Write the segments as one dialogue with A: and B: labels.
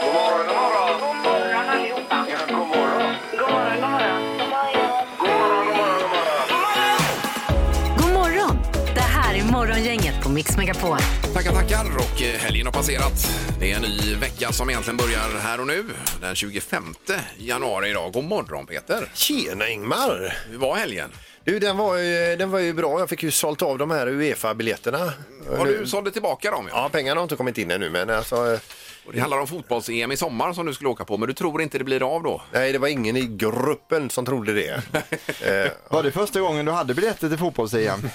A: God morgon, god morgon.
B: God morgon allihopa.
A: Ja, god morgon.
B: God morgon, god morgon. God morgon.
A: God morgon, god morgon, god morgon.
C: God morgon! Det här är Morgongänget på Mix Megapol.
D: Tackar, tackar. Och eh, helgen har passerat. Det är en ny vecka som egentligen börjar här och nu. Den 25 januari idag. God morgon Peter.
E: Tjena Ingmar!
D: Hur var helgen?
E: Du, den var, ju, den var ju bra. Jag fick ju sålt av de här Uefa-biljetterna.
D: Har du sålde tillbaka dem? Ja.
E: Ja, pengarna har inte kommit in ännu, men alltså,
D: Och Det handlar om fotbolls-EM i sommar som du skulle åka på, men du tror inte det blir av då?
E: nej, det var ingen i gruppen som trodde det. eh,
F: Var det första gången du hade biljetter till fotbolls igen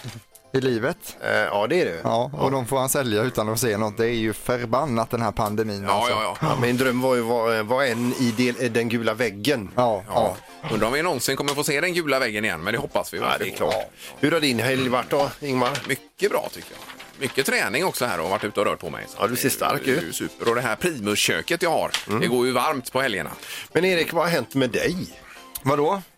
F: i livet?
E: eh, ja, det är det.
F: Ja, och de får han sälja utan att se något. Det är ju förbannat den här pandemin.
D: Ja,
F: alltså.
D: ja, ja.
E: Ja, min dröm var ju att vara- vara en i del, eh, den gula väggen.
F: ja, ja.
D: Undrar om vi någonsin kommer få se den gula väggen igen, men det hoppas vi.
E: Ja, det är klart. Hur har din helg varit då, Ingmar?
D: Mycket bra tycker jag. Mycket träning också här och varit ute och rört på mig. Så
E: Ja, du ser
D: det är ju-
E: stark
D: det är ju
E: ut. Mm.
D: Super. Och det här primusköket jag har, det går ju varmt på helgerna.
E: Men Erik, vad har hänt med dig?
F: Vadå?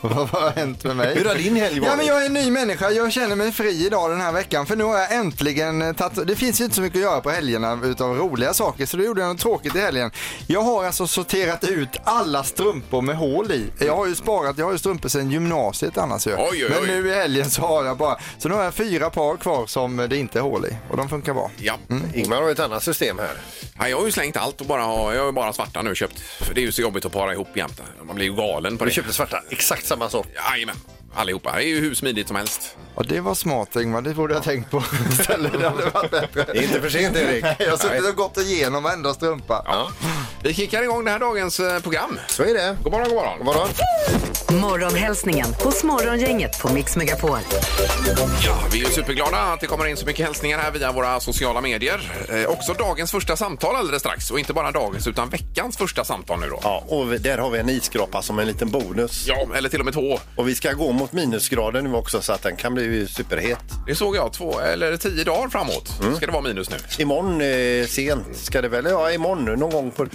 F: Vad har hänt med mig?
E: Hur har din helg varit?
F: Ja, men jag är en ny människa. Jag känner mig fri idag den här veckan. För nu har jag äntligen eh, tagit... Det finns ju inte så mycket att göra på helgerna utav roliga saker. Så då gjorde jag något tråkigt i helgen. Jag har alltså sorterat ut alla strumpor med hål i. Jag har ju sparat, jag har ju strumpor sedan gymnasiet annars ju.
D: Oj, oj,
F: Men
D: oj.
F: nu i helgen så har jag bara... Så nu har jag fyra par kvar som det inte är hål i. Och de funkar bra.
D: Ja.
E: Ingmar har ett annat system här.
D: Ja, jag har ju slängt allt och bara, har- jag har ju bara svarta nu köpt. För det är ju så jobbigt att para ihop jämt. Man blir ju galen på
E: Du
D: det.
E: köpte svarta, exakt samma sort.
D: Jajamän, allihopa. Det är ju hur smidigt som helst.
F: Ja, det var smart Ingmar. Det borde jag tänkt på istället. Det hade varit bättre.
E: Det är inte för sent, Erik.
F: Jag har suttit
E: Nej,
F: och gått igenom varenda strumpa.
D: Vi kickar igång det här dagens eh, program.
E: Så är det.
D: God morgon, god morgon.
E: God morgon.
C: Morgonhälsningen hos Morgongänget på Mix Megapol.
D: Ja, vi är ju superglada att det kommer in så mycket hälsningar här via våra sociala medier. Eh, också dagens första samtal alldeles strax. Och inte bara dagens, utan veckans första samtal nu då.
E: Ja, och vi- där har vi en isskrapa som en liten bonus.
D: Ja, eller till och med två.
E: Och vi ska gå mot minusgraden nu också så att den kan bli superhet.
D: Det såg jag, två eller tio dagar framåt
E: Mm.
D: ska det vara minus nu.
E: Imorgon eh, sent ska det väl, ja imorgon någon gång på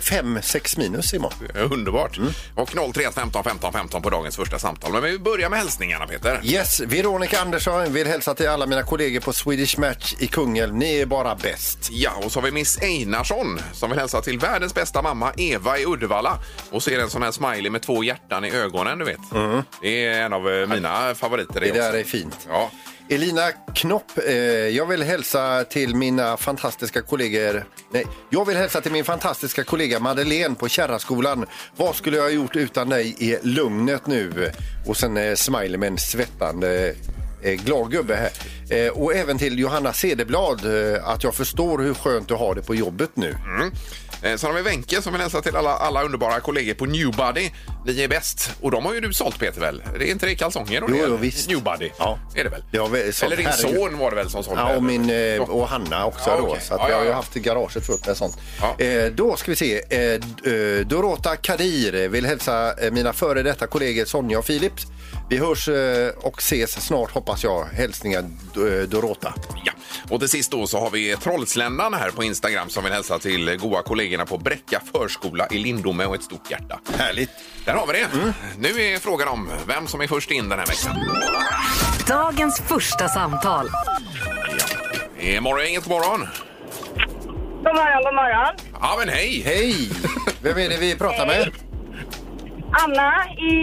E: 5-6 minus imorgon.
D: Ja, Underbart.
E: Mm.
D: Och 03 15 15 15 på dagens första samtal. Men vi börjar med hälsningarna Peter.
E: Yes, Veronica Andersson vill hälsa till alla mina kollegor på Swedish Match i Kungälv. Ni är bara bäst.
D: Ja, och så har vi Miss Einarsson som vill hälsa till världens bästa mamma Eva i Uddevalla. Och så är det en sån här smiley med två hjärtan i ögonen, du vet. Det är en av eh, mina favoriter.
E: Mm. Det där
D: också.
E: är fint.
D: Ja.
E: Elina Knopp, eh, jag vill hälsa till mina fantastiska kollegor. Nej, jag vill hälsa till min fantastiska kollega Madeleine på Kärraskolan. Vad skulle jag ha gjort utan dig i lugnet nu? Och sen eh, smiley med en svettande eh, glad gubbe här. Eh, och även till Johanna Cederblad, eh, att jag förstår hur skönt du har det på jobbet nu.
D: Mm. Eh, Sen har vi Wenke som vill hälsa till alla, alla underbara kollegor på Newbody. Ni är bäst. Och de har ju du sålt Peter väl? Det är inte det kalsonger? och
E: Jo,
D: det är
E: jo, visst.
D: Newbody
E: Ja.
D: är det väl?
E: Det har vi sålt.
D: Eller din
E: Herregud.
D: son var det väl som sålde?
E: Ja, och, min, eh,
D: Ja.
E: och Hanna också.
D: Ja,
E: då,
D: okej.
E: Så att
D: Ja,
E: jag har
D: ja,
E: ju
D: ja.
E: haft i garaget fullt med sånt.
D: Ja.
E: Eh, då ska vi se. Eh, d- eh, Dorota Kadir vill hälsa eh, mina före detta kollegor Sonja och Filip. Vi hörs eh, och ses snart hoppas jag. Hälsningar D- eh, Dorota.
D: Ja. Och till sist då så har vi Trollsländan här på Instagram som vill hälsa till goa kollegorna på Bräcka förskola i Lindome och ett stort hjärta.
E: Härligt.
D: Där har vi det. Nu är frågan om vem som är först in den här veckan.
C: Dagens första samtal.
D: Det är morgon, inget morgon.
B: God morgon, god morgon.
D: Ja, men hej!
E: Hej! Vem är det vi pratar med?
B: Anna i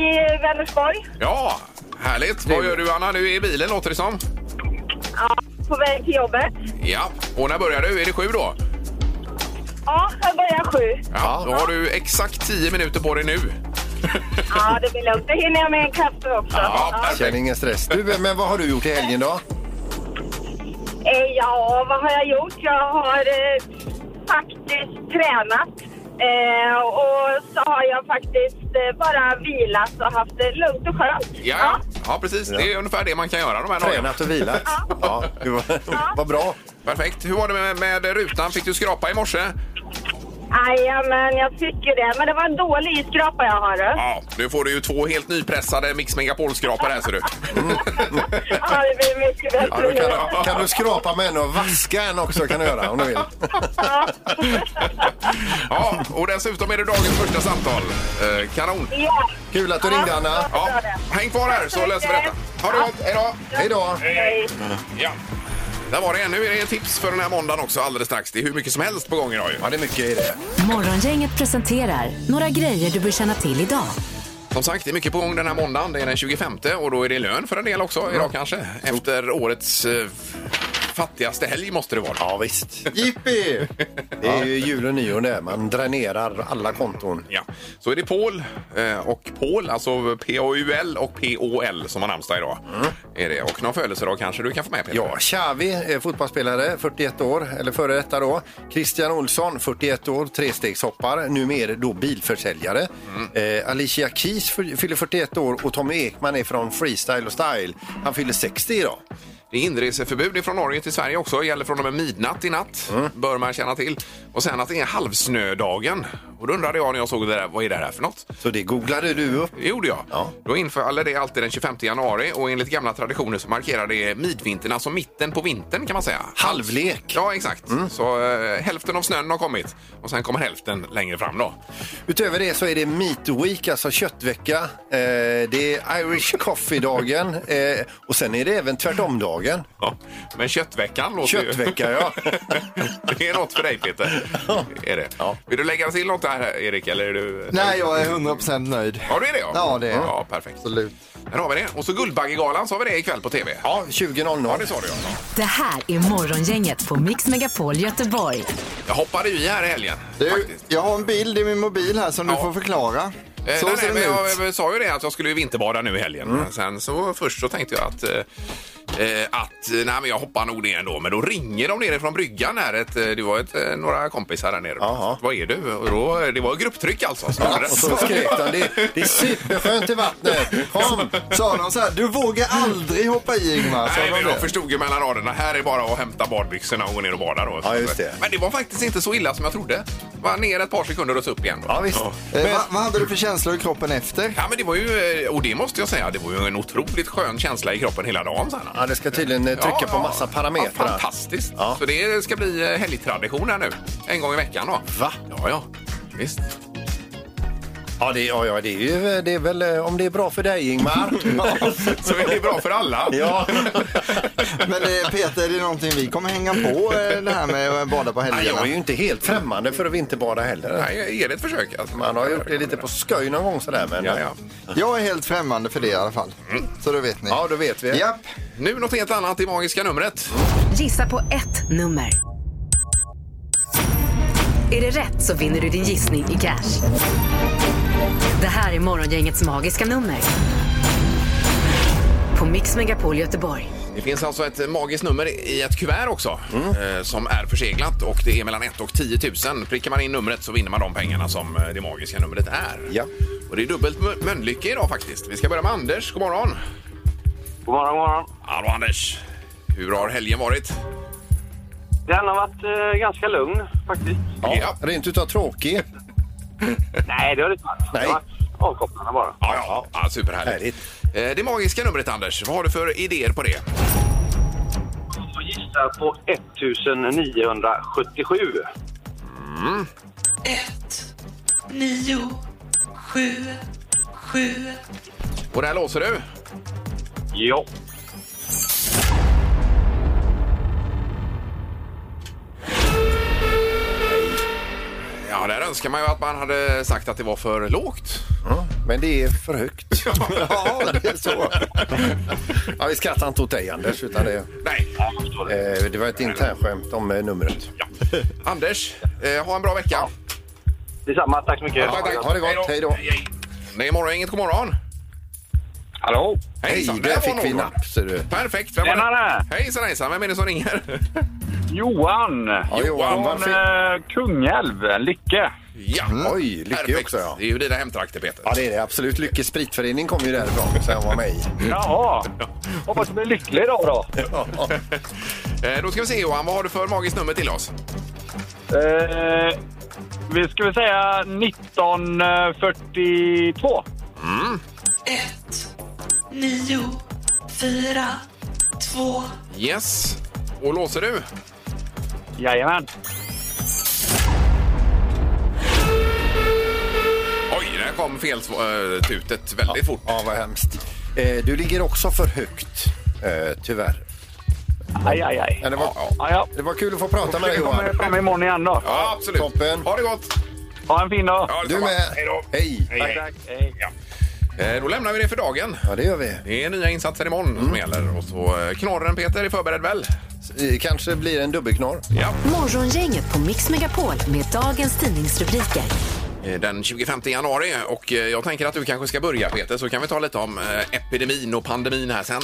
B: Vänersborg.
D: Ja, härligt. Vad gör du Anna? Du är i bilen låter det som.
B: Ja, på väg till jobbet.
D: Ja, och när börjar du? Är det sju då?
B: Ja, jag börjar sju.
D: Ja, då har du exakt tio minuter på dig nu.
B: Ja, det blir lugnt. Det hinner jag med en kaffe också.
D: Ja,
B: Ja.
E: Känner ingen stress. Du, eh, men vad har du gjort i helgen då?
B: Eh, ja, vad har jag gjort? Jag har eh, faktiskt tränat. Eh, och så har jag faktiskt eh, bara vilat och haft det lugnt och skönt.
D: Ja, ja. ja precis. Det är ungefär det man kan göra de här dagarna.
E: Tränat och vilat? Ja, det var- vad bra.
D: Perfekt. Hur var det med, med rutan? Fick du skrapa i morse?
B: Jajamän, jag tycker det. Men det var en dålig isskrapa jag har. du.
D: Ja, nu får du ju två helt nypressade Mix Megapol-skrapor här ser du.
B: Ja, det blir mycket bättre
D: Ja, du kan-
B: nu.
E: Kan du skrapa med en och vaska en också kan du göra om du vill.
D: Ja, och dessutom är det dagens första samtal. Eh, kanon.
B: Ja.
E: Kul att du ringde Anna.
D: Ja, häng kvar här så löser vi detta. Ha det gott, hej då!
E: Hej då!
B: Hej.
D: Ja. Där var det en. Nu är det tips för den här måndagen också alldeles strax. Det är hur mycket som helst på gång idag ju.
E: Ja, det är mycket i det.
C: Morgongänget presenterar några grejer du bör känna till idag.
D: Som sagt, det är mycket på gång den här måndagen. Det är den 25 och då är det lön för en del också idag kanske. Efter årets eh, fattigaste helg måste det vara.
E: Ja, visst.
F: Jippi!
E: Det är ju jul och nyår det. Man dränerar alla konton.
D: Ja. Så är det Paul eh, och Paul, alltså P-A-U-L och P-O-L som har namnsdag idag. Är det. Och någon födelsedag kanske du kan få med Peter?
E: Mm. Ja, Xavi, eh, fotbollsspelare, 41 år, eller före detta då. Christian Olsson, 41 år, trestegshoppare, numera då bilförsäljare. Eh, Alicia Keys fyr- fyller 41 år och Tommy Ekman är från Freestyle och Style. Han fyller 60 idag.
D: Det är inreseförbud från Norge till Sverige också. Gäller från och med midnatt i natt.
E: Mm.
D: Bör man känna till. Och sen att det är halvsnödagen. Och då undrade jag när jag såg det där, vad är det här för något?
E: Så det googlade du upp.
D: Det gjorde jag.
E: Ja.
D: Då infaller det alltid den 25 januari och enligt gamla traditioner så markerar det midvintern, alltså mitten på vintern kan man säga.
E: Halvlek.
D: Ja, exakt.
E: Mm.
D: Så eh, hälften av snön har kommit och sen kommer hälften längre fram då.
E: Utöver det så är det Meat Week, alltså köttvecka. Eh, det är Irish Coffee-dagen eh, och sen är det även tvärtom-dagen.
D: Ja. Men köttveckan låter
E: Köttvecka, ja.
D: ju... det är något för dig Peter. Är det.
E: Ja.
D: Vill du lägga till något där Erik? Eller är du...
F: Nej, jag är 100% nöjd.
D: Ja, det är det ja.
F: Ja, det är jag.
D: Ja, perfekt.
F: Absolut.
D: Här har vi det. Och så Guldbaggegalan så har vi det ikväll på TV.
E: Ja, 20.00.
D: Ja, det sa du ja.
C: Det här är Morgongänget på Mix Megapol Göteborg.
D: Jag hoppade ju i här i helgen.
F: Du,
D: faktiskt.
F: jag har en bild i min mobil här som
D: Ja.
F: du får förklara.
D: Eh,
F: Så
D: nej,
F: ser
D: nej, men
F: den
D: jag,
F: ut. Mm.
D: eh, sa ju det att jag skulle ju vinterbada nu i helgen. Men Sen så först så tänkte jag att eh, eh, att eh, nej men jag hoppar nog ner ändå. Men då ringer de nerifrån bryggan här. Ett, eh, det var ett, eh, några kompisar där nere.
E: Jaha.
D: Vad är du? Och då, eh, det var grupptryck alltså. som gjorde det.
E: Och så skrek han, det, det är superskönt i vattnet. Kom!
F: Sa de så här, du vågar aldrig hoppa i Ingmar?
E: Alltså,
F: Sa
D: Nej,
F: de
D: men jag
F: det?
D: förstod ju mellan raderna. Här är bara att hämta badbyxorna och gå ner och bada. Då.
E: Ja, just det.
D: Men det var faktiskt inte så illa som jag trodde. Var ner ett par sekunder och så upp igen. Då.
E: Ja, visst.
F: Eh, vad, vad hade du för känslor i kroppen efter?
D: Ja, men det var ju, eh, och det måste jag säga, det var ju en otroligt skön känsla i kroppen hela dagen. Så här.
E: Ja, det ska tydligen eh, trycka
D: Ja,
E: på massa
D: Ja,
E: parametrar.
D: fantastiskt.
E: Ja.
D: Så det ska bli eh, helgtradition här nu. En gång i veckan då.
E: Va?
D: Ja, ja. Visst.
E: Ja, det, ja, ja, det är ju det är väl eh, om det är bra för dig Ingmar.
D: Så är det bra för alla.
E: Ja.
F: Men eh, Peter, är det någonting vi kommer hänga på eh, det här med att bada på
E: Nej, jag är ju
F: helgerna?
E: inte helt främmande för att vinterbada heller.
D: Nej, är det ett försök? Alltså,
E: Man har gjort det lite på skoj någon gång sådär. Men,
D: Ja, ja.
F: Jag är helt främmande för det i alla fall.
D: Mm.
F: Så då vet ni.
E: ja, då vet vi.
F: Japp.
D: Nu något helt annat i magiska numret.
C: Gissa på ett nummer. Är det rätt så vinner du din gissning i cash. Det här är Morgongängets magiska nummer. På Mix Megapol Göteborg.
D: Det finns alltså ett magiskt nummer i ett kuvert också eh, som är förseglat och det är mellan 1 och 10 000. Prickar man in numret så vinner man de pengarna som eh, det magiska numret är.
E: Ja.
D: Och det är dubbelt Mö- Mölnlycke idag faktiskt. Vi ska börja med Anders. God morgon!
G: God morgon, god morgon.
D: Hallå Anders! Hur har helgen varit?
G: Den har varit eh, ganska lugn faktiskt.
D: Ja.
E: Rent utav tråkig.
G: Nej, det har det inte varit.
E: Nej.
G: Det har varit avkopplande bara.
D: Ja, ja. ja superhärligt. Eh, Det magiska numret, Anders. Vad har du för idéer på det?
G: Jag gissar på 1977.
H: 9, 7, 7.
D: Och där låser du.
G: Ja.
D: Ja, där önskar man ju att man hade sagt att det var för lågt.
E: Men det är för högt.
F: Ja, det är så.
E: Ja, vi skrattar inte åt dig Anders. Utan det,
D: Nej.
G: ja, jag förstår det.
E: eh, det var ett internskämt om eh, numret.
D: Anders, eh, ha en bra vecka.
G: Detsamma, tack så mycket.
E: Ja, tack. Ha det gott. Hej då.
D: Det är morgon, inget god morgon.
G: Hallå?
E: Hej,
D: Hejsan,
E: där
D: var
E: fick vi
D: någon.
E: napp. ser du.
D: Perfekt. Vem var
G: Tjenare!
D: det? Hejsan, hejsan. Vem är det som ringer?
G: Johan! eh,
E: Ja, Johan, varför...
G: Kungälv, Lycke.
D: ja.
E: Mm. Oj, Lycke
D: Perfekt.
E: också ja.
D: Det är ju dina hemtrakter, Peter.
E: Ja, det är det. Absolut. Lycke spritförening kom ju därifrån, så jag var med i.
G: Jaha. Hoppas du blir lycklig idag då.
D: Eh, Då ska vi se, Johan. Vad har du för magiskt nummer till oss?
G: Eh, vi ska väl säga 1942.
H: 1, 9, 4, 2.
D: Yes. Och låser du?
G: Jajamän.
D: Oj, där kom fel sv- eh, tutet väldigt fort.
E: Ja, vad hemskt. Eh, du ligger också för högt, eh, tyvärr.
G: Aj, aj, aj.
E: Men det, var,
G: Ja, ja.
E: det var kul att få prata med dig
G: Vi kommer
E: Johan.
G: fram imorgon igen då.
D: Ja, absolut.
E: Toppen.
D: Ha det gott!
G: Ha en fin dag.
D: Ja,
E: Du
D: detsamma.
E: med.
D: Hej då!
E: Hej.
D: Hej,
G: Tack,
D: hej.
G: tack. Hej.
D: Eh, Då lämnar vi det för dagen.
E: Ja, det gör vi.
D: Det är nya insatser imorgon
E: Mm.
D: som gäller. Och så eh, knorren Peter är förberedd väl?
E: Det kanske blir en dubbelknorr.
D: Ja.
C: Morgongänget på Mix Megapol med dagens tidningsrubriker.
D: Eh, Den 25 januari och eh, jag tänker att du kanske ska börja Peter så kan vi ta lite om eh, epidemin och pandemin här sen.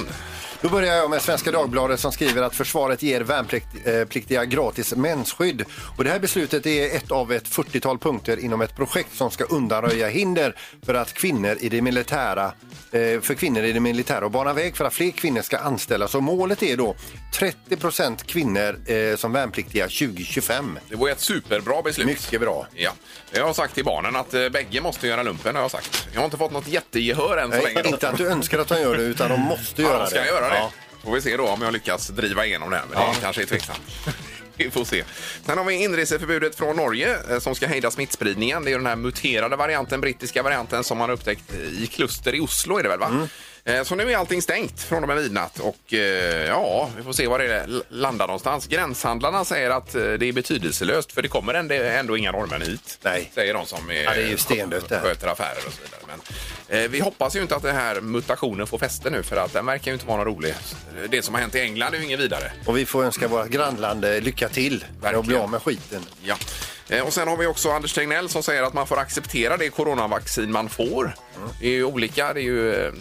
E: Då börjar jag med Svenska Dagbladet som skriver att försvaret ger värnpliktiga gratis mensskydd. Och det här beslutet är ett av ett 40-tal punkter inom ett projekt som ska undanröja hinder för att kvinnor i det militära eh, för kvinnor i det militära och bana väg för att fler kvinnor ska anställas. Och målet är då 30 procent kvinnor eh, som värnpliktiga 2025.
D: Det var ju ett superbra beslut.
E: Mycket bra.
D: Ja. Jag har sagt till barnen att eh, bägge måste göra lumpen har jag sagt. Jag har inte fått något jättegehör än så
E: Nej,
D: länge.
E: inte att du önskar att de gör det, utan de måste
D: Ja,
E: göra
D: de ska
E: det.
D: göra det.
E: Ja.
D: Får vi se då om jag lyckas driva igenom det här, men det kanske är tveksamt. Vi får se. Sen har vi inreseförbudet från Norge eh, som ska hejda smittspridningen. Det är ju den här muterade varianten, brittiska varianten som man har upptäckt i kluster i Oslo är det väl va?
E: Mm.
D: Eh, Så nu är allting stängt från och med midnatt och eh, ja, vi får se var det l- landar någonstans. Gränshandlarna säger att eh, det är betydelselöst för det kommer ändå- ändå inga norrmän hit.
E: Nej.
D: Säger de som är,
E: Ja, det är ju stendött det här.
D: sköter affärer och så vidare. Men, eh, vi hoppas ju inte att den här mutationen får fäste nu för att den verkar ju inte vara någon rolig. Det som har hänt i England är ju inget vidare.
E: Och vi får önska våra grannland eh, lycka till med att bli
D: Verkligen.
E: av med skiten.
D: Ja. Eh, Och sen har vi också Anders Tegnell som säger att man får acceptera det coronavaccin man får. Det är ju olika. Det är ju, eh,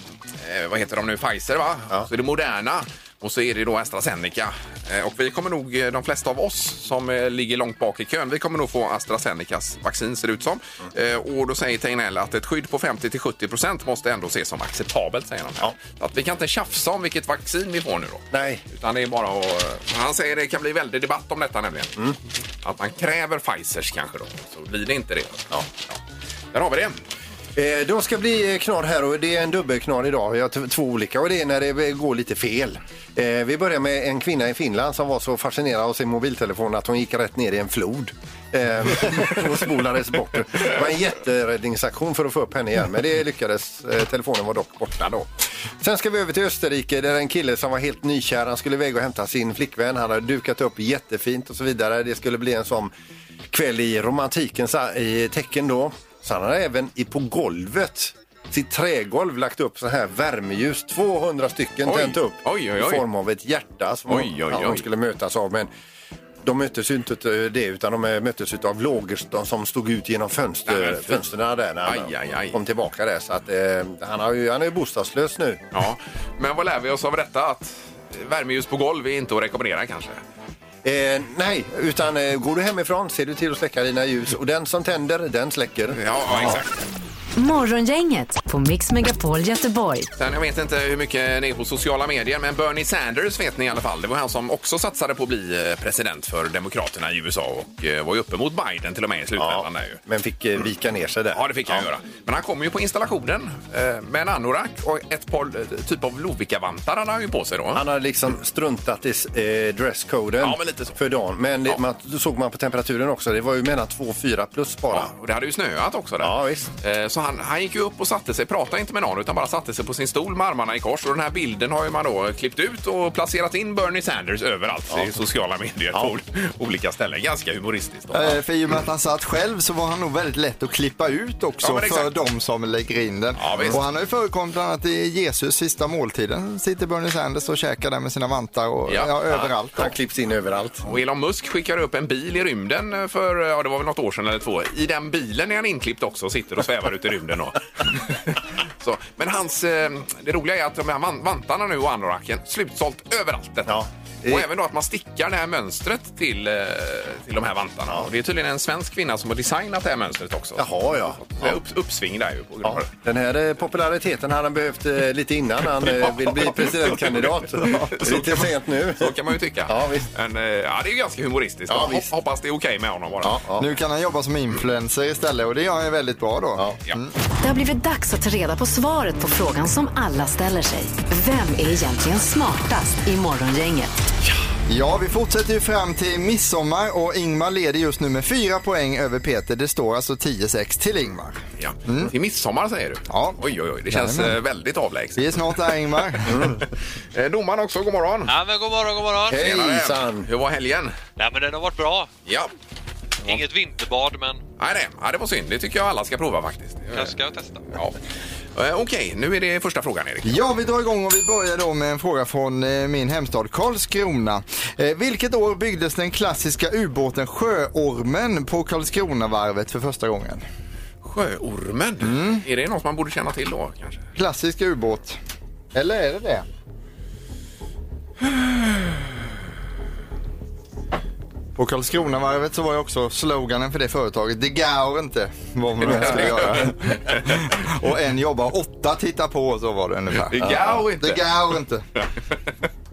D: vad heter de nu, Pfizer va?
E: Ja.
D: Så är det Moderna och så är det då AstraZeneca. Eh, Och vi kommer nog, eh, de flesta av oss som eh, ligger långt bak i kön, vi kommer nog få AstraZenecas vaccin ser det ut som. Eh, Och då säger Tegnell att ett skydd på 50-70% måste ändå ses som acceptabelt säger de. här. Så Att vi kan inte tjafsa om vilket vaccin vi får nu då.
E: Nej,
D: Utan det är bara att, eh, Han säger det kan bli väldig debatt om detta nämligen. Att man kräver Pfizers kanske då. Så blir det inte det. Ja. Där har vi det.
E: Eh, De ska bli eh, knorr här och det är en dubbelknorr idag. Jag har t- två olika och det är när det går lite fel. Eh, Vi börjar med en kvinna i Finland som var så fascinerad av sin mobiltelefon att hon gick rätt ner i en flod. Eh, och spolades bort. Det var en jätteräddningsaktion för att få upp henne igen men det lyckades. Eh, Telefonen var dock borta då. Sen ska vi över till Österrike där en kille som var helt nykär han skulle iväg och hämta sin flickvän. Han hade dukat upp jättefint och så vidare. Det skulle bli en sån kväll i romantikens a- i tecken då. Så han har även i, på golvet, sitt trägolv, lagt upp så här värmeljus. 200 stycken
D: Oj.
E: tänt upp
D: Oj, oj, oj.
E: i form av ett hjärta som
D: Oj, oj,
E: Ja,
D: oj.
E: de skulle mötas av. Men de möttes ju inte av det utan de eh, möttes av lågor de som stod ut genom
D: Nej,
E: fönster,
D: men fy.
E: fönstren där när han
D: Aj, aj, aj.
E: kom tillbaka där. Så att, eh, han, har ju, han är ju bostadslös nu.
D: Ja. Men vad lär vi oss av detta? Att värmeljus på golv är inte att rekommendera kanske.
E: Eh, nej, utan eh, går du hemifrån ser du till att släcka dina ljus och den som tänder, den släcker.
D: Ja, ja, exakt.
C: Morgongänget på Mix Megapol Göteborg.
D: Sen, jag vet inte hur mycket ni är på sociala medier, men Bernie Sanders vet ni i alla fall. Det var han som också satsade på att bli eh, president för Demokraterna i USA och eh, var ju uppemot Biden till och med i slutändan. där ju.
E: men fick eh, vika ner sig där.
D: Ja, det fick han göra. Men han kom ju på installationen eh, med en anorak och ett par eh, typ av Lovikkavantar hade han ju på sig då.
E: Han har liksom struntat i eh, dresscoden
D: Ja, men lite så.
E: för dagen. Men det,
D: Ja.
E: man, då såg man på temperaturen också, det var ju mellan 2 och 4 plus bara.
D: Ja, och det hade ju snöat också där.
E: Ja, visst.
D: Eh, Så han, han gick ju upp och satte sig, pratade inte med någon utan bara satte sig på sin stol med armarna i kors. Och den här bilden har ju man då klippt ut och placerat in Bernie Sanders överallt i sociala medier på ol- olika ställen. Ganska humoristiskt. Då.
F: Eh, För i och med att han satt själv så var han nog väldigt lätt att klippa ut också
D: Ja, men
F: för
D: exakt.
F: de som lägger in den.
D: Ja, visst.
F: och han har ju förekommit bland annat i Jesus sista måltiden. Sitter Bernie Sanders och käkar där med sina vantar och
D: Ja.
F: ja. överallt.
E: Han klipps in överallt.
D: Och Elon Musk skickade upp en bil i rymden eh, för, ja det var väl något år sedan eller två. I den bilen är han inklippt också och sitter och svävar ut i rymden. då. Så, men hans, eh, det roliga är att de här van- vantarna nu och anoraken slutsålt överallt detta.
E: Ja. Eh.
D: Och även då att man stickar det här mönstret till, eh, till de här vantarna. Och det är tydligen en svensk kvinna som har designat det här mönstret också.
E: Jaha, ja.
D: Det är upp, uppsving där ju på grund av
E: Ja,
D: det.
E: den här eh, populariteten hade han behövt eh, lite innan han eh, vill bli presidentkandidat. lite sent nu.
D: Så kan man ju tycka.
E: Ja, visst.
D: Men eh, ja, det är ju ganska humoristiskt.
E: Ja,
D: Hop-
E: visst.
D: Hoppas det är okej med honom bara.
E: Ja, ja.
F: Nu kan han jobba som influencer istället och det gör han ju väldigt bra då.
E: Ja. Mm.
D: Ja.
C: Det har blivit dags att ta reda på svaret på frågan som alla ställer sig. Vem är egentligen smartast i Morgongänget?
F: Ja, vi fortsätter ju fram till midsommar och Ingmar leder just nu med fyra poäng över Peter. Det står alltså 10-6 till Ingmar.
D: Ja. Till midsommar säger du?
F: Mm. Ja.
D: Oj, oj, oj. Det känns
F: Jajamän.
D: eh, väldigt avlägset.
F: Vi är snart där Ingmar.
D: Eh, Domaren också, god morgon.
I: Ja, men god morgon, god morgon.
E: Hej.
D: Tjenare.
E: Hejsan.
D: Hur var helgen?
I: Nej, men den har varit bra.
D: Ja.
I: Inget vinterbad, men
D: Nej, nej. Ja, det var synd. Det tycker jag alla ska prova faktiskt.
I: jag ska testa.
D: Ja. Eh, Okej, nu är det första frågan, Erik.
F: Ja, vi drar igång och vi börjar då med en fråga från eh, min hemstad Karlskrona. Eh, Vilket år byggdes den klassiska ubåten Sjöormen på Karlskronavarvet för första gången?
D: Sjöormen.
F: Mm.
D: Är det något man borde känna till då, kanske?
F: Klassisk ubåt. Eller är det det? På Karlskronavarvet så var ju också sloganen för det företaget, det går inte vad man än skulle göra. Och en jobbar åtta tittar på, så var det ungefär.
D: Det går inte.
F: Det går inte.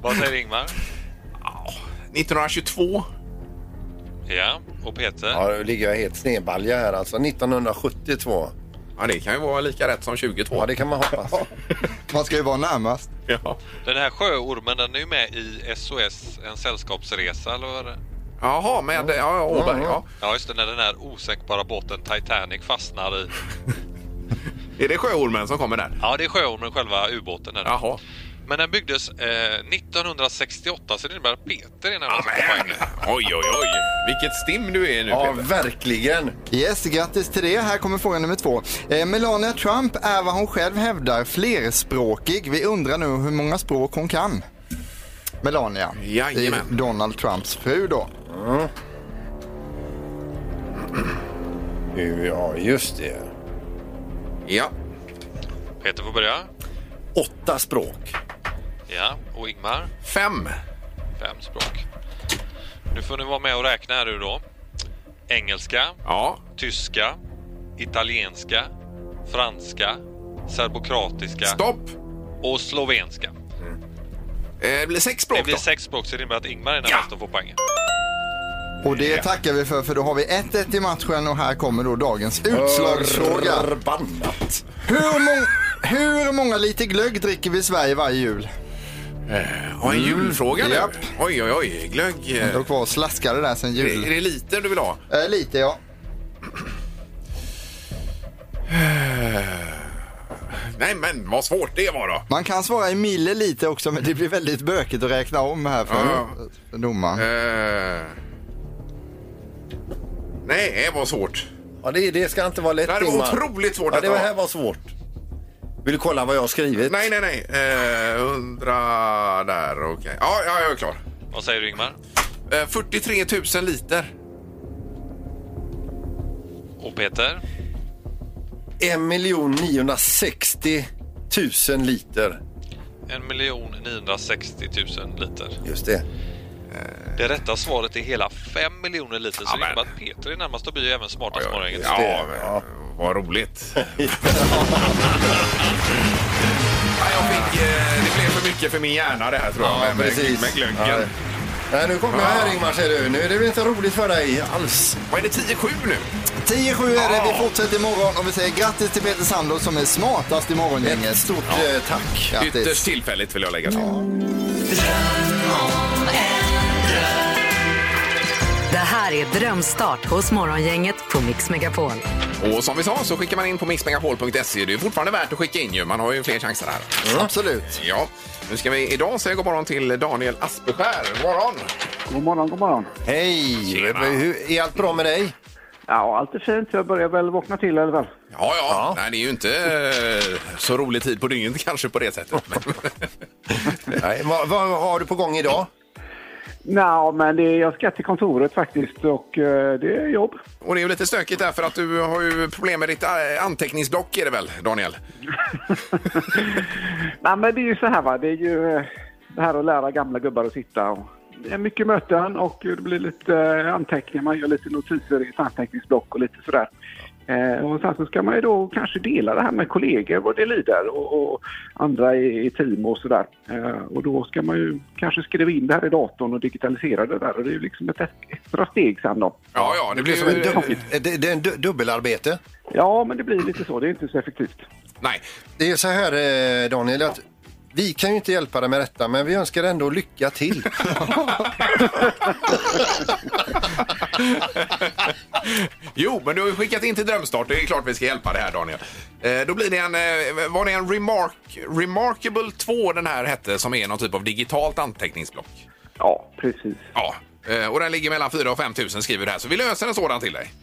I: Vad säger Ingmar?
D: 1922.
I: Ja, och Peter?
E: Ja, då ligger jag helt snedbalja här alltså. 1972.
D: Ja, det kan ju vara lika rätt som 22.
E: Ja, det kan man hoppas.
F: Man ska ju vara närmast.
D: ja.
I: Den här sjöormen, den är ju med i SOS, en sällskapsresa, eller vad är det?
D: Jaha, med ja, Åberg, ja.
I: Ja, just det, när den här osänkbara båten Titanic fastnar i.
D: Är det Sjöormen som kommer där?
I: Ja, det är sjöormen, själva ubåten. Där.
D: Jaha.
I: Men den byggdes eh, 1968, så det innebär att Peter är närmast på
D: Amen.
I: poängen.
D: Oj, oj, oj. Vilket stim du är nu,
E: Ja,
D: Peter.
E: verkligen.
F: Yes, grattis till det. Här kommer fråga nummer två. Eh, Melania Trump är vad hon själv hävdar flerspråkig. Vi undrar nu hur många språk hon kan. Melania.
D: Jajamän.
F: Det är Donald Trumps fru då.
E: Ja, just det.
D: Ja.
I: Peter får börja.
E: Åtta språk.
I: Ja, och Ingmar?
D: Fem.
I: Fem språk. Nu får ni vara med och räkna här nu då. Engelska,
D: Ja.
I: tyska, italienska, franska, serbokratiska
D: Stopp.
I: och slovenska.
D: Eh, Det blir sex
I: Det
D: språk
I: blir
D: då.
I: sex språk så det innebär att Ingmar är närmast och får poängen.
F: Och det tackar vi för, för då har vi 1-1 i matchen och här kommer då dagens utslagsfråga.
E: Förbannat.
F: Hur, må- hur många liter glögg dricker vi i Sverige varje jul?
D: Mm. Ja, en julfråga nu.
F: Japp.
D: Oj, oj, oj. Glögg. eh,
F: Jag kvar och slaskade där sen
D: Är är
F: jul.
D: det liter du vill ha?
F: Eh, lite ja.
D: Nej, men vad svårt det var då.
F: Man kan svara i mille lite också men det blir väldigt bökigt att räkna om här för domaren.
D: Eh. Nej, vad svårt.
E: Ja, det, det ska inte vara lätt.
D: Nej, det var
E: Ingmar.
D: otroligt svårt
E: Ja,
D: detta
E: det
D: var.
E: här var svårt. Vill du kolla vad jag har skrivit?
D: Nej, nej, nej. Eh, Hundra där, okej. Ja, ja, jag är klar.
I: Vad säger du Ingmar?
D: Eh, 43 000 liter.
I: Och Peter?
E: 1 960 000 liter.
I: 1 960 000 liter.
E: Just det.
I: Det rätta svaret är hela 5 miljoner liter så det
D: Amen.
I: innebär att Peter är närmast och blir ju även smartast
D: Ja,
I: morgonen.
D: ja, men, vad roligt. ja, jag fick, eh, det blev för mycket för min hjärna det här tror jag,
E: Ja,
D: med, med,
E: precis.
D: med glöggen.
E: Ja. Nej, nu kommer jag här Ingmar ser du. Nu är det väl inte roligt för dig alls.
D: Vad är det, 10-7 nu?
F: 10-7 är det, vi fortsätter imorgon och vi säger grattis till Peter Sandor som är smartast i morgongänget.
E: Ett stort eh, tack.
D: Ytterst
F: Grattis.
D: tillfälligt vill jag lägga till.
C: Det här är Drömstart hos Morgongänget på Mix Megapol.
D: Och som vi sa så skickar man in på mixmegapol.se. Det är fortfarande värt att skicka in ju. Man har ju fler chanser här.
F: Mm. Absolut.
D: Ja, nu ska vi idag säga god morgon till Daniel Aspeskär. God morgon!
G: God morgon, god morgon.
E: Hej!
D: Tjena.
E: Hur, är allt bra med dig?
G: Ja, allt är fint. Jag börjar väl vakna till i alla fall.
D: Ja, ja, Nej, det är ju inte eh, så rolig tid på dygnet kanske på det sättet. Men,
E: Nej, vad, vad har du på gång idag?
G: Nej, men det, jag ska till kontoret faktiskt och eh, det är jobb.
D: och det är ju lite stökigt där för att du har ju problem med ditt eh, anteckningsblock är det väl, Daniel?
G: Nej, men det är ju så här va. Det är ju eh, det här att lära gamla gubbar att sitta. Och det är mycket möten och det blir lite eh, anteckningar. Man gör lite notiser i ett anteckningsblock och lite sådär. Eh, och sen så ska man ju då kanske dela det här med kollegor vad det lider och, och andra i, i team och sådär. Eh, och då ska man ju kanske skriva in det här i datorn och digitalisera det där. Och det är ju liksom ett extra steg sen då.
D: Ja, ja, det blir
E: Som en
D: ju...
E: dub- Eh, det, det är en du, dubbelarbete.
G: Ja, men det blir lite så. Det är inte så effektivt.
D: Nej,
E: Det är så här eh, Daniel att Vi kan ju inte hjälpa dig med detta, men vi önskar ändå lycka till.
D: Jo, men du har ju skickat in till Drömstart. Det är klart vi ska hjälpa det här, Daniel. Eh, då blir det en... Eh, var det en Remark, Remarkable 2 den här hette som är någon typ av digitalt anteckningsblock?
G: Ja, precis.
D: Ja. Eh, och den ligger mellan 4 000 och 5 000 skriver du här. Så vi löser en sådan till dig.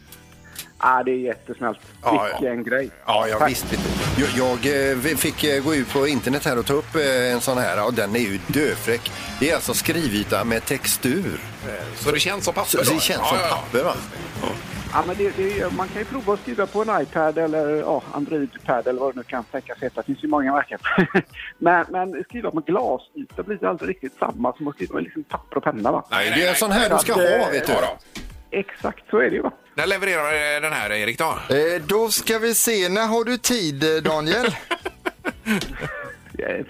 G: Ah, det är jättesnällt.
D: Ja, ja.
G: Vilken grej.
D: Ja,
E: Jag visste inte. Jag, jag eh, vi fick eh, gå ut på internet här och ta upp eh, en sån här och den är ju döfräck. Det är alltså skrivyta med textur.
D: Så det känns som papper?
E: Så
D: då?
E: det känns
D: ja,
E: som
D: ja, ja.
E: papper va?
G: Ja, men det, det, man kan ju prova att skriva på en iPad eller ja, Android-pad eller vad det nu kan tänkas heta. Det finns ju många märken. men, men skriva på glasyta blir det aldrig riktigt samma som att skriva med liksom papper och penna. Va?
D: Nej,
E: Det är en sån här du ska ha vet du.
D: Ja, då.
G: Exakt så är det ju. Va?
D: När levererar eh, den här, Erik? Då?
F: Eh, då ska vi se, när har du tid eh, Daniel?
G: Eh,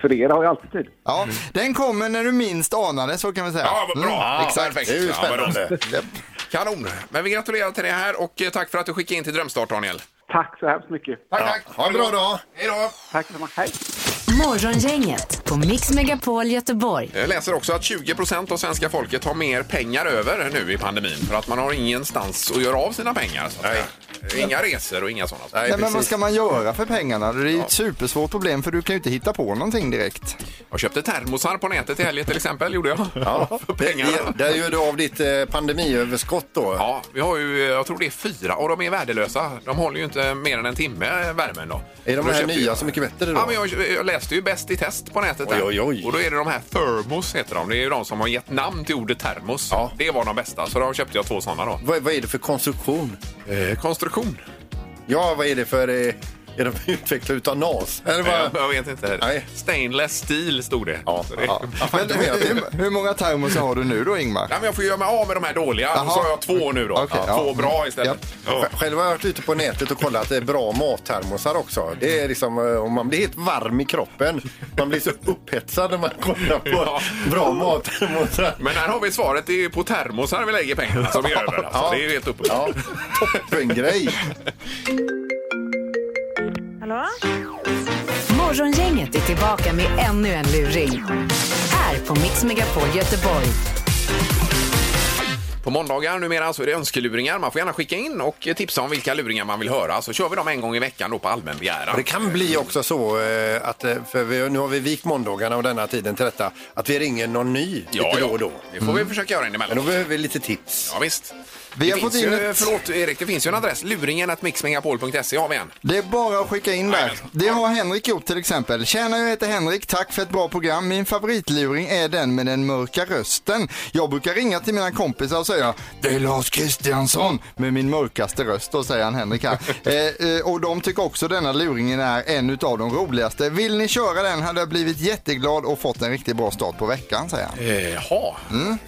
G: För er har jag alltid tid.
F: Ja, den kommer när du minst anar det, så kan vi säga.
D: Ja, vad bra!
F: Mm, exakt.
D: Perfekt.
E: Det är ju
D: Ja, vad bra.
E: spännande.
D: Kanon! Men vi gratulerar till det här och eh, tack för att du skickade in till Drömstart, Daniel.
G: Tack så hemskt mycket.
D: Tack, tack!
E: Ha en bra dag.
D: Hej då!
G: Tack så mycket. Hej.
C: Morgongänget på Mix Megapol Göteborg.
D: Jag läser också att 20 av svenska folket har mer pengar över nu i pandemin för att man har ingenstans att göra av sina pengar. Så att säga. Inga resor och inga sådana saker.
F: Nej, men vad ska man göra för pengarna? Det är ju ett supersvårt problem för du kan ju inte hitta på någonting direkt.
D: Jag köpte termosar på nätet i helgen till exempel, gjorde jag.
E: Ja.
D: För pengarna.
E: Det- Där gör du av ditt eh, pandemiöverskott då.
D: Ja, vi har ju, jag tror det är fyra och de är värdelösa. De håller ju inte mer än en timme värmen då.
E: Är de
D: Då
E: här
D: köpte
E: nya
D: jag-
E: så mycket bättre då?
D: Ja, men jag, jag läste ju Bäst i test på nätet där.
E: Oj, oj, oj.
D: Och då är det de här thermos heter de. Det är ju de som har gett namn till ordet termos.
E: Ja.
D: Det var de bästa, så då köpte jag två sådana då.
E: Vad, vad är det för konstruktion?
D: Eh, konstruktion.
E: Ja, vad är det för... eh, Är de utvecklade utav NAS? Är det
D: Jag,
E: bara...
D: jag vet inte.
E: Nej.
D: Stainless steel stod det. Ja, det...
E: Ja. Ja,
F: Men,
E: faktum är att-
F: hur, hur många termosar har du nu då Ingmar?
D: Nej, men jag får göra mig av med de här dåliga.
F: Jaha.
D: Så har jag två nu då.
F: Okej,
D: två
F: ja.
E: Mm.
D: bra istället. Ja.
E: Själv har jag varit ute på nätet och kollat att det är bra mattermosar också. Det är liksom, eh, om man blir helt varm i kroppen. Man blir så upphetsad när man kollar på
D: Ja.
E: bra mattermosar.
D: Men här har vi svaret. Det är ju på termosar vi lägger pengarna som vi gör det. Alltså.
E: Ja.
D: Det är ju helt uppe.
E: Ja, toppengrej.
B: Hallå?
C: Morgongänget är tillbaka med ännu en luring. Här på Mix Megapol Göteborg.
D: På måndagar numera så är det önskeluringar. Man får gärna skicka in och tipsa om vilka luringar man vill höra. Så kör vi dem en gång i veckan då på allmän begäran.
E: Det kan bli också så eh, att, eh, för vi, nu har vi vikt måndagarna och denna tiden till detta, att vi ringer någon ny lite då och då.
D: Det får vi försöka göra
E: Men då
D: emellanåt.
E: behöver vi lite tips.
D: Ja, visst.
F: Vi
D: det
F: har
D: finns
F: fått in
D: ju,
F: ett-
D: Förlåt Erik, det finns ju en adress. Luringen.mixmegapol.se har vi en.
F: Det är bara att skicka in där. Det har Henrik gjort till exempel. Tjena, jag heter Henrik. Tack för ett bra program. Min favoritluring är den med den mörka rösten. Jag brukar ringa till mina kompisar och säga Det är Lars Kristiansson med min mörkaste röst. Då säger han Henrik här. eh, eh, och de tycker också denna luringen är en utav de roligaste. Vill ni köra den hade jag blivit jätteglad och fått en riktigt bra start på veckan, säger han.
E: Eh,
D: Jaha.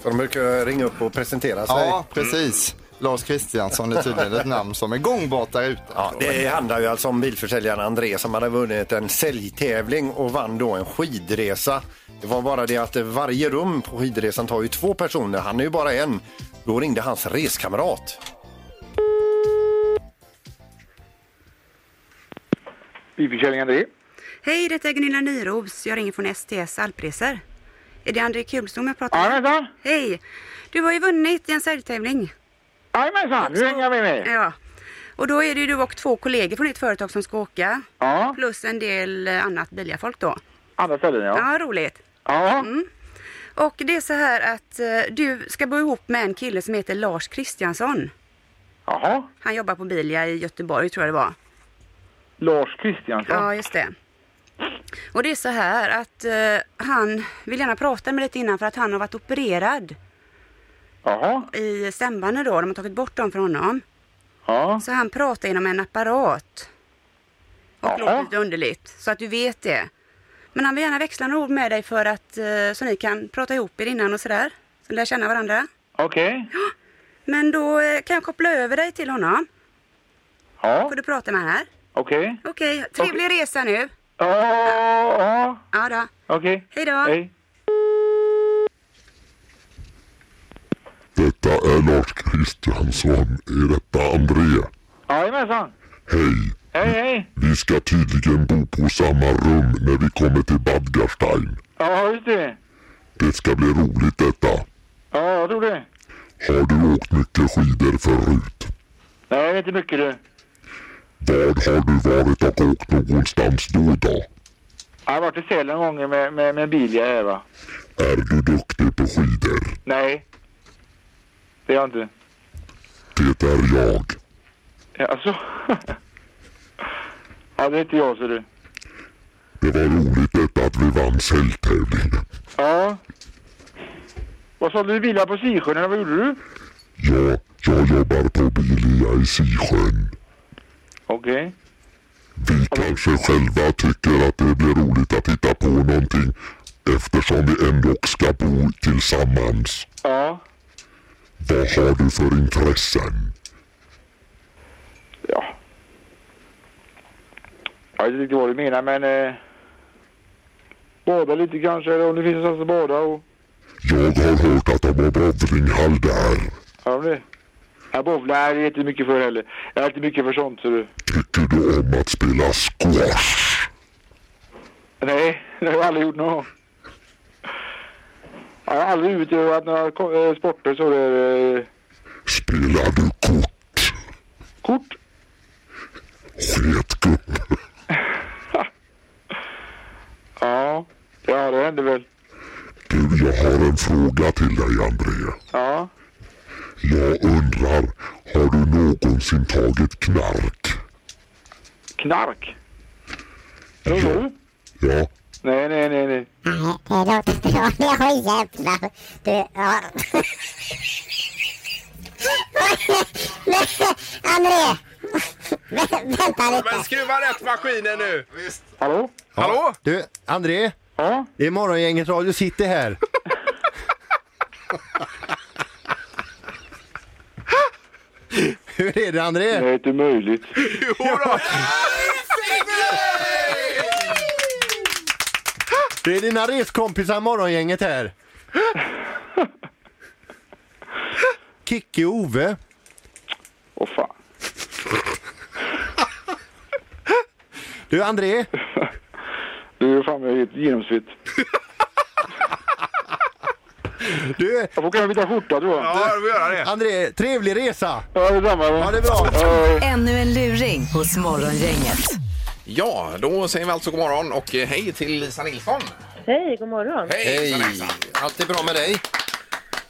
E: Så de brukar ringa upp och presentera sig.
F: Ja, precis. Lars Kristiansson är tydligen ett namn som är gångbart där ute.
E: Ja, det handlar ju alltså om bilförsäljaren André som hade vunnit en säljtävling och vann då en skidresa. Det var bara det att varje rum på skidresan tar ju två personer, han är ju bara en. Då ringde hans reskamrat.
G: Bilförsäljning André.
J: Hej, det är Gunilla Nyros. Jag ringer från STS Alpresor. Är det André Kulstom jag pratar med?
G: Jajamensan.
J: Hej! Du har ju vunnit i en säljtävling.
G: Jajamensan. Nu hänger vi med.
J: Ja. Och då är det ju du och två kollegor från ditt företag som ska åka.
G: Ja.
J: Plus en del eh, annat biljafolk då.
G: Andra ställen ja.
J: Ja, roligt. Mm.
G: Ja.
J: Och det är så här att eh, du ska bo ihop med en kille som heter Lars Kristiansson.
G: Jaha.
J: Han jobbar på Bilia i Göteborg tror jag det var.
G: Lars Kristiansson.
J: Ja, just det. Och det är så här att eh, han vill gärna prata med dig lite innan för att han har varit opererad.
G: Jaha.
J: i stämbanden då, de har tagit bort dem från honom.
G: Ja.
J: Så han pratar genom en apparat. Och
G: Jaha.
J: låter lite underligt, så att du vet det. Men han vill gärna växla några ord med dig för att, eh, så ni kan prata ihop er innan och sådär. Så ni lär känna varandra.
G: Okej.
J: Men då eh, kan jag koppla över dig till honom.
G: Ja.
J: Får du prata med honom här.
G: Okej.
J: Okej, trevlig resa nu.
G: Ja. Ja.
J: Ja då.
G: Okej.
J: Hej då.
G: Hej.
K: Detta är Lars Kristiansson. Är detta André?
G: Jajamensan.
K: Hej.
G: Hej, hej.
K: Vi ska tydligen bo på samma rum när vi kommer till Badgarstein.
G: Ja, just det.
K: Det ska bli roligt detta.
G: Ja, jag tror det.
K: Har du åkt mycket skidor förut?
G: Nej, inte mycket du.
K: Vad har du varit och åkt någonstans då då?
G: Jag har varit i Sälen gånger med, med, med bil jag här va.
K: Är du duktig på skidor?
G: Nej. Det är jag inte.
K: Det är jag.
G: Alltså. ja, det är inte jag ser du.
K: Det var roligt detta att vi vann säljtävlingen.
G: Ja. Vad sålde du bilar på Sisjön eller vad gjorde du?
K: Ja, jag jobbar på Bilia i Sisjön.
G: Okej.
K: Vi kanske själva tycker att det blir roligt att hitta på någonting eftersom vi ändå ska bo tillsammans.
G: Ja.
K: Vad har du för intressen?
G: Ja. Jag vet inte riktigt vad du menar men. Eh, bada lite kanske eller om det finns någonstans att bada och.
K: Jag har hört att de har bowlinghall där.
G: Ja, det. Jag bowlar är inte mycket för heller. Jag är inte mycket för sånt ser du.
K: Tycker du om att spela squash?
G: Nej, det har jag aldrig gjort någon gång. Jag har aldrig utövat några ko- eh, sporter så det är... eh,
K: Spelar du kort?
G: Kort?
K: Sket gubbe.
G: Ja, ja det händer väl.
K: Du, jag har en fråga till dig André.
G: Ja.
K: Jag undrar, har du någonsin tagit knark?
G: Knark? Tror du?
K: Ja,
G: Nej, nej, nej, nej.
H: jävlar. Du, ja. Men, André. Vänta lite.
D: Men skruva rätt maskinen nu!
G: Hallå?
D: Hallå?
L: Du, André,
G: Ja?
L: det är Morgongänget Radio City här. Hur är det André?
G: Nej, inte möjligt.
D: Jodå!
L: Det är dina reskompisar Morgongänget här. Kicke och Ove.
G: Åh fan.
L: Du André,
G: Du är fan jag är helt genomsvett.
L: du,
G: Jag får kanske byta skjorta tror jag.
D: Ja, du får göra det.
L: André, trevlig resa.
G: Ja, detsamma.
L: Ha det bra.
C: Ännu en luring hos Morgongänget.
D: Ja, då säger vi alltså god morgon och eh, hej till Lisa Nilsson.
B: Hej, god morgon.
D: Hej! Lisa Nilsson.
E: Allt är bra med dig?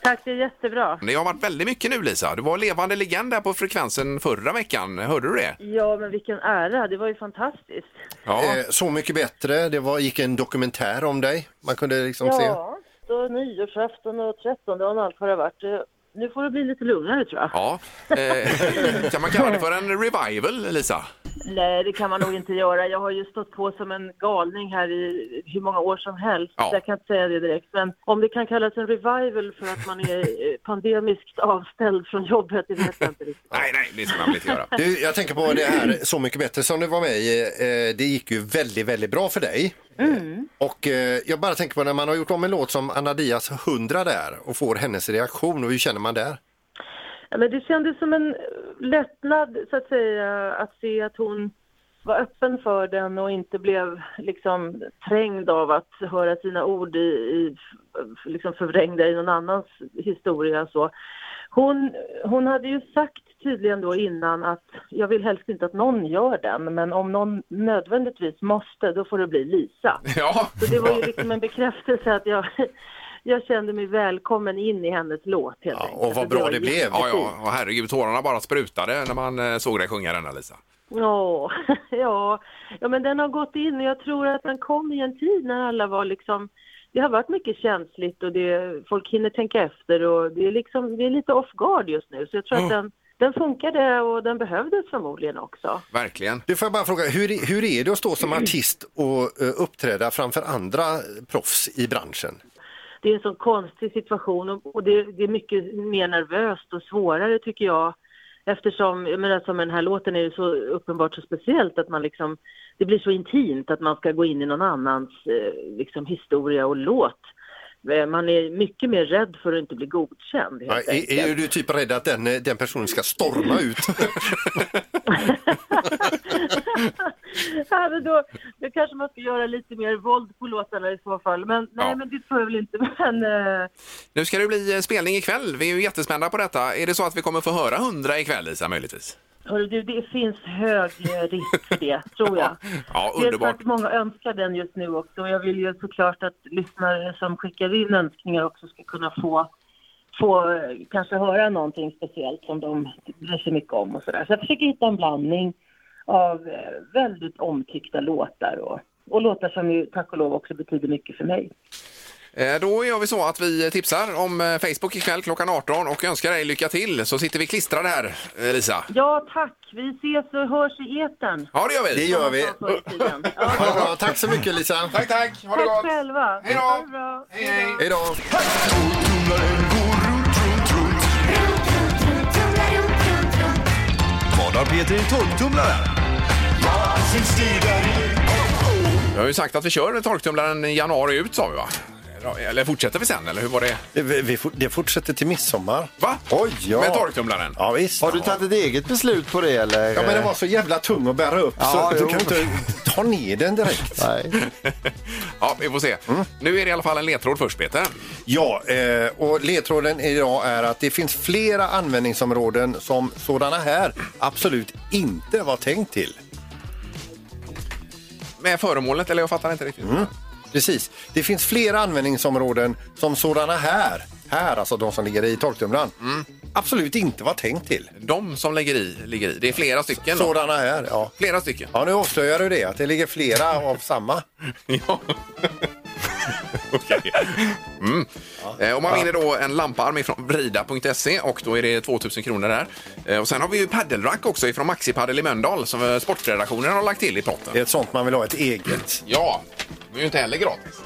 B: Tack, det är jättebra.
D: Det har varit väldigt mycket nu Lisa. Du var levande legend där på frekvensen förra veckan. Hörde du det?
B: Ja, men vilken ära. Det var ju fantastiskt.
D: Ja.
E: Eh, så mycket bättre. Det var, gick en dokumentär om dig. Man kunde liksom se.
B: Ja, så nyårsafton och trettondagen och allt vad det har varit. Eh, Nu får det bli lite lugnare tror jag.
D: Ja. Eh, kan man kalla det för en revival Lisa?
B: Nej, det kan man nog inte göra. Jag har ju stått på som en galning här i hur många år som helst.
D: Ja.
B: Jag kan inte säga det direkt. Men om det kan kallas en revival för att man är eh, pandemiskt avställd från jobbet, det vet jag inte riktigt.
D: Nej, nej, det ska man väl inte göra.
E: Du, jag tänker på det här Så mycket bättre som du var med i. Eh, Det gick ju väldigt, väldigt bra för dig. Och eh, jag bara tänker på när man har gjort om en låt som Anna Diaz 100 där och får hennes reaktion och hur känner man där?
B: Ja, Men det kändes som en eh, lättnad så att säga att se att hon var öppen för den och inte blev liksom trängd av att höra sina ord i, i f- liksom förvrängda i någon annans historia så. Hon, hon hade ju sagt tydligen då innan att jag vill helst inte att någon gör den men om någon nödvändigtvis måste då får det bli Lisa.
D: Ja,
B: Så det var ju liksom en bekräftelse att jag, jag kände mig välkommen in i hennes låt helt
E: Ja,
B: enkelt.
E: och vad
B: Så var
E: bra det blev.
D: ja, ja. Och herregud, tårarna bara sprutade när man eh, såg dig sjunga denna Lisa.
B: Ja, ja. ja, men den har gått in och jag tror att den kom i en tid när alla var liksom... Det har varit mycket känsligt och det, folk hinner tänka efter och det är liksom, vi är lite off guard just nu så jag tror att den, den funkade och den behövdes förmodligen också.
D: Verkligen.
E: Du får jag bara fråga, hur, hur är det att stå som artist och eh, uppträda framför andra proffs i branschen?
B: det är en sån konstig situation och, och det, det är mycket mer nervöst och svårare tycker jag. Eftersom, jag menar som med den här låten är det så uppenbart så speciellt att man liksom, det blir så intimt att man ska gå in i någon annans eh, liksom historia och låt. Eh, Man är mycket mer rädd för att inte bli godkänd
E: Ja,
B: helt
E: Är, är
B: enkelt.
E: du typ rädd att den, eh, den personen ska storma ut?
B: men då, då kanske man ska göra lite mer våld på låtarna i så fall. Men nej, men det tror jag väl inte. Men, eh,
D: Nu ska det bli eh, spelning ikväll. Vi är ju jättespända på detta. Är det så att vi kommer få höra 100 ikväll, Lisa, möjligtvis?
B: hörru, du, det finns hög eh, risk för det, tror jag.
D: Ja,
B: Det är för
D: underbart.
B: att många önskar den just nu också. Och jag vill ju såklart att lyssnare som skickar in önskningar också ska kunna få, få eh, kanske höra någonting speciellt som de bryr sig mycket om och sådär. Så jag försöker hitta en blandning av eh, väldigt omtyckta låtar och, och låtar som ju tack och lov också betyder mycket för mig.
D: Eh, Då gör vi så att vi tipsar om eh, Facebook ikväll klockan 18 och önskar dig lycka till så sitter vi klistrade här, eh, Lisa.
B: Ja, tack. Vi ses och hörs i etern.
D: Ja, det gör vi.
E: Det gör vi. Ha det bra. Tack så mycket Lisa.
D: Tack, tack.
B: Ha tack själva. Hej då.
E: Hej då.
H: Vad har Peter i torktumlaren?
D: Vi har ju sagt att vi kör torktumlaren i januari ut, sa vi va? Eller fortsätter vi sen, eller hur var det?
E: Det, vi, fort- det fortsätter till midsommar.
D: Va?
E: Oj, ja.
D: Med torktumlaren?
E: Ja, visst.
F: Har du tagit ett eget beslut på det eller?
E: Ja, men den var så jävla tung att bära upp
F: Eh. Ja,
E: så
F: jo.
E: du kan inte ta ner den direkt.
D: Ja, vi får se.
E: Mm.
D: Nu är det i alla fall en ledtråd först, Peter.
E: Ja, eh, och ledtråden idag är att det finns flera användningsområden som sådana här absolut inte var tänkt till.
D: Med föremålet, eller jag fattar inte riktigt.
E: Mm. Precis. Det finns flera användningsområden som sådana här, här alltså de som ligger i torktumlaren,
F: Mm.
E: absolut inte var tänkt till.
D: De som ligger i, ligger i. Det är flera stycken. då.
E: Sådana här, ja.
D: Flera stycken.
E: Ja, nu avslöjar du det, att det ligger flera av samma.
D: Ja. Okej. Mm. Eh, Och man vinner då en lamparm ifrån vrida.se och då är det 2000 kronor där. Eh, Och sen har vi ju paddelrack också ifrån Maxi Paddel i Mölndal som eh, sportredaktionen har lagt till i potten.
E: Det är ett sånt man vill ha, ett eget.
D: Ja, det är ju inte heller gratis.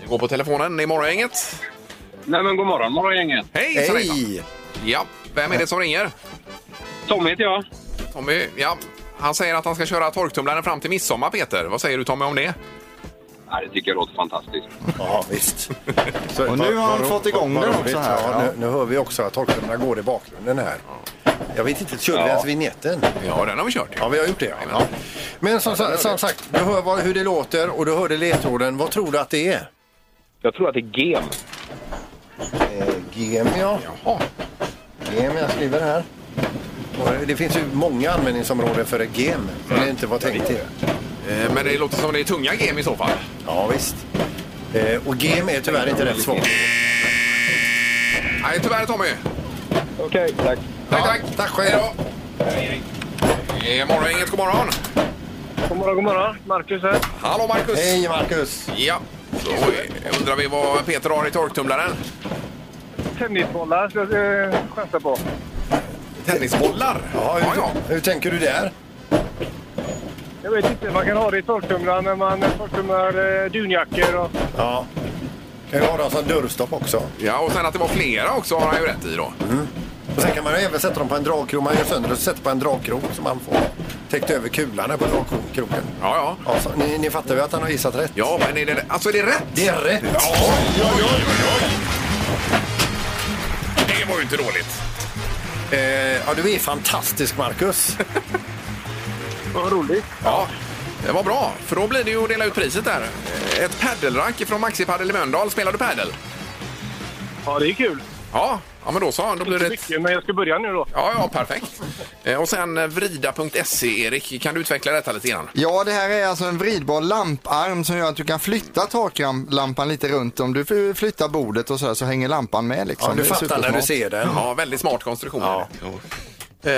D: Vi går på telefonen i morgongänget.
G: Nej men god morgon morgongänget.
D: Hej! Sarita. Ja, vem är det som ringer?
G: Tommy heter jag.
D: Tommy, ja. Han säger att han ska köra torktumlaren fram till midsommar, Peter. Vad säger du Tommy om det?
G: Nej, det tycker jag låter fantastiskt.
E: Ja, visst.
F: Och nu har han
E: Vad-
F: fått
E: vad-
F: igång
E: vad
F: den
E: roligt.
F: också här,
E: Ja,
F: ja.
E: Nu, nu hör vi också att torktumlarna går i bakgrunden här. Jag vet inte, körde vi
D: Ja.
E: ens vignetten?
D: Ja, den har vi kört.
E: Ja, vi har gjort det. Ja. Men som, sa- som sagt, du hör vad, hur det låter och du hörde ledtråden. Vad tror du att det är?
G: Jag tror att det är gem.
E: Eh, GM, ja. GM, jag skriver här. Och Det finns ju många användningsområden för ett GM. Men det inte var tänkt till.
D: Eh, Men det låter som det är tunga gem i så fall.
E: Ja, visst. Eh, Och GM är tyvärr inte rätt svar.
D: Nej, tyvärr Tommy.
G: Okej, tack.
D: Tack, tack. Tack själv. Eh, morgon, inget god morgon.
G: God morgon, god morgon. Marcus här.
D: Hallå Marcus.
E: Hej Marcus.
D: Ja, då eh, undrar vi vad Peter har i torktumlaren.
G: Tennisbollar ska jag eh, chansa på.
D: Tennisbollar?
E: Ja, hur, hur tänker du där?
G: Jag vet inte, man kan ha det i torktumlaren när man torktumlar eh, dunjackor och...
E: Ja. Kan ju ha dem som dörrstopp också.
D: Ja, och sen att det var flera också har han ju rätt i då.
E: Och sen kan man ju även sätta dem på en dragkrok. Man gör sönder och sätter på en dragkrok så man får täckt över kulan här på dragkroken.
D: Ja,
E: ja. så, ni, ni fattar ju att han har gissat rätt.
D: Ja, men är det, alltså är det rätt?
E: Det är rätt.
D: Det var ju inte dåligt.
E: Eh, ja, du är fantastisk, Marcus.
G: Vad roligt.
D: Ja, det var bra. För då blir det ju att dela ut priset där. Eh, Ett paddelrack från Maxi Paddel i Mölndal. Spelar du paddel?
G: Ja, det är kul.
D: Ja, ja men då så. Då blir det... ett-
G: Mycket, men jag ska börja nu då.
D: Ja, ja, perfekt. Eh, Och sen eh, vrida.se, Erik. Kan du utveckla detta lite grann?
F: Ja, det här är alltså en vridbar lamparm som gör att du kan flytta taklampan lite runt. Om du flyttar bordet och så, här, så hänger lampan med. Liksom. Det är supersmart.
D: Ja, väldigt smart konstruktion. Ja. Eh,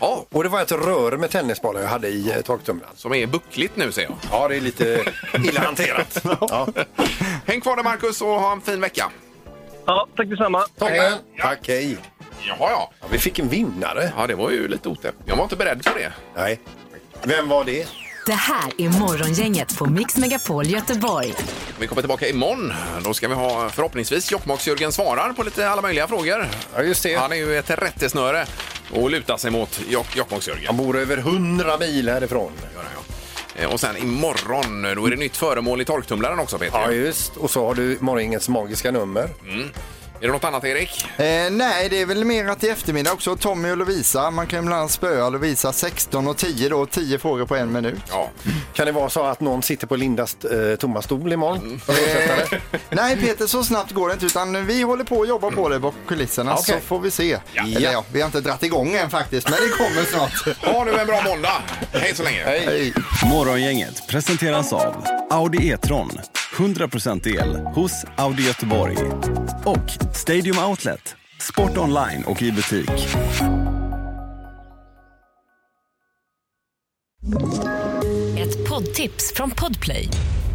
D: ja.
E: Och det var ett rör med tennisbollar jag hade i eh, torktumlaren.
D: Som är buckligt nu ser jag.
E: Ja, det är lite illa hanterat. Ja.
D: Häng kvar där Marcus och ha en fin vecka.
G: Ja, tack detsamma.
E: Toppen! Tack, hej.
D: Jaha, ja.
E: ja. Vi fick en vinnare.
D: Ja, det var ju lite otäppt. Jag var inte beredd på det.
E: Nej. Vem var det?
C: Det här är Morgongänget på Mix Megapol Göteborg.
D: Vi kommer tillbaka imorgon. Då ska vi ha förhoppningsvis Jokkmokks-Jörgen svarar på lite alla möjliga frågor.
E: Ja, just det.
D: Han är ju ett rättesnöre och lutar sig mot Jok- Jokkmokks-Jörgen.
E: Han bor över 100 mil härifrån.
D: Eh, Och sen imorgon, eh, då är det nytt föremål i torktumlaren också Peter.
E: Ja, just. Och så har du morgonens magiska nummer.
D: Mm. Är det något annat Erik?
F: Eh, nej, det är väl mer att i eftermiddag också Tommy och Lovisa. Man kan ibland spöa Lovisa 16 och 10 då, 10 frågor på en minut.
D: Ja.
E: Kan det vara så att någon sitter på Lindas eh, tomma stol imorgon?
F: Eh, nej Peter, så snabbt går det inte utan vi håller på att jobba på det bakom kulisserna
E: Mm. Okej.
F: så får vi se.
E: Ja.
F: Eller ja, vi har inte dragit igång än faktiskt, men det kommer snart.
D: Ha nu en bra måndag. Hej så länge.
F: Hej.
M: Morgongänget presenteras av Audi E-tron. 100% el hos Audi Göteborg. Och Stadium Outlet. Sport online och i butik.
N: Ett poddtips från Podplay.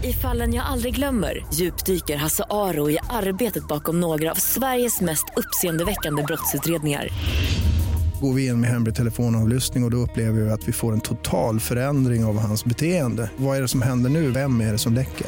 N: I fallen jag aldrig glömmer djupdyker Hasse Aro i arbetet bakom några av Sveriges mest uppseendeväckande brottsutredningar.
O: Går vi in med hemlig telefonavlyssning och, och då upplever vi att vi får en total förändring av hans beteende. Vad är det som händer nu? Vem är det som läcker?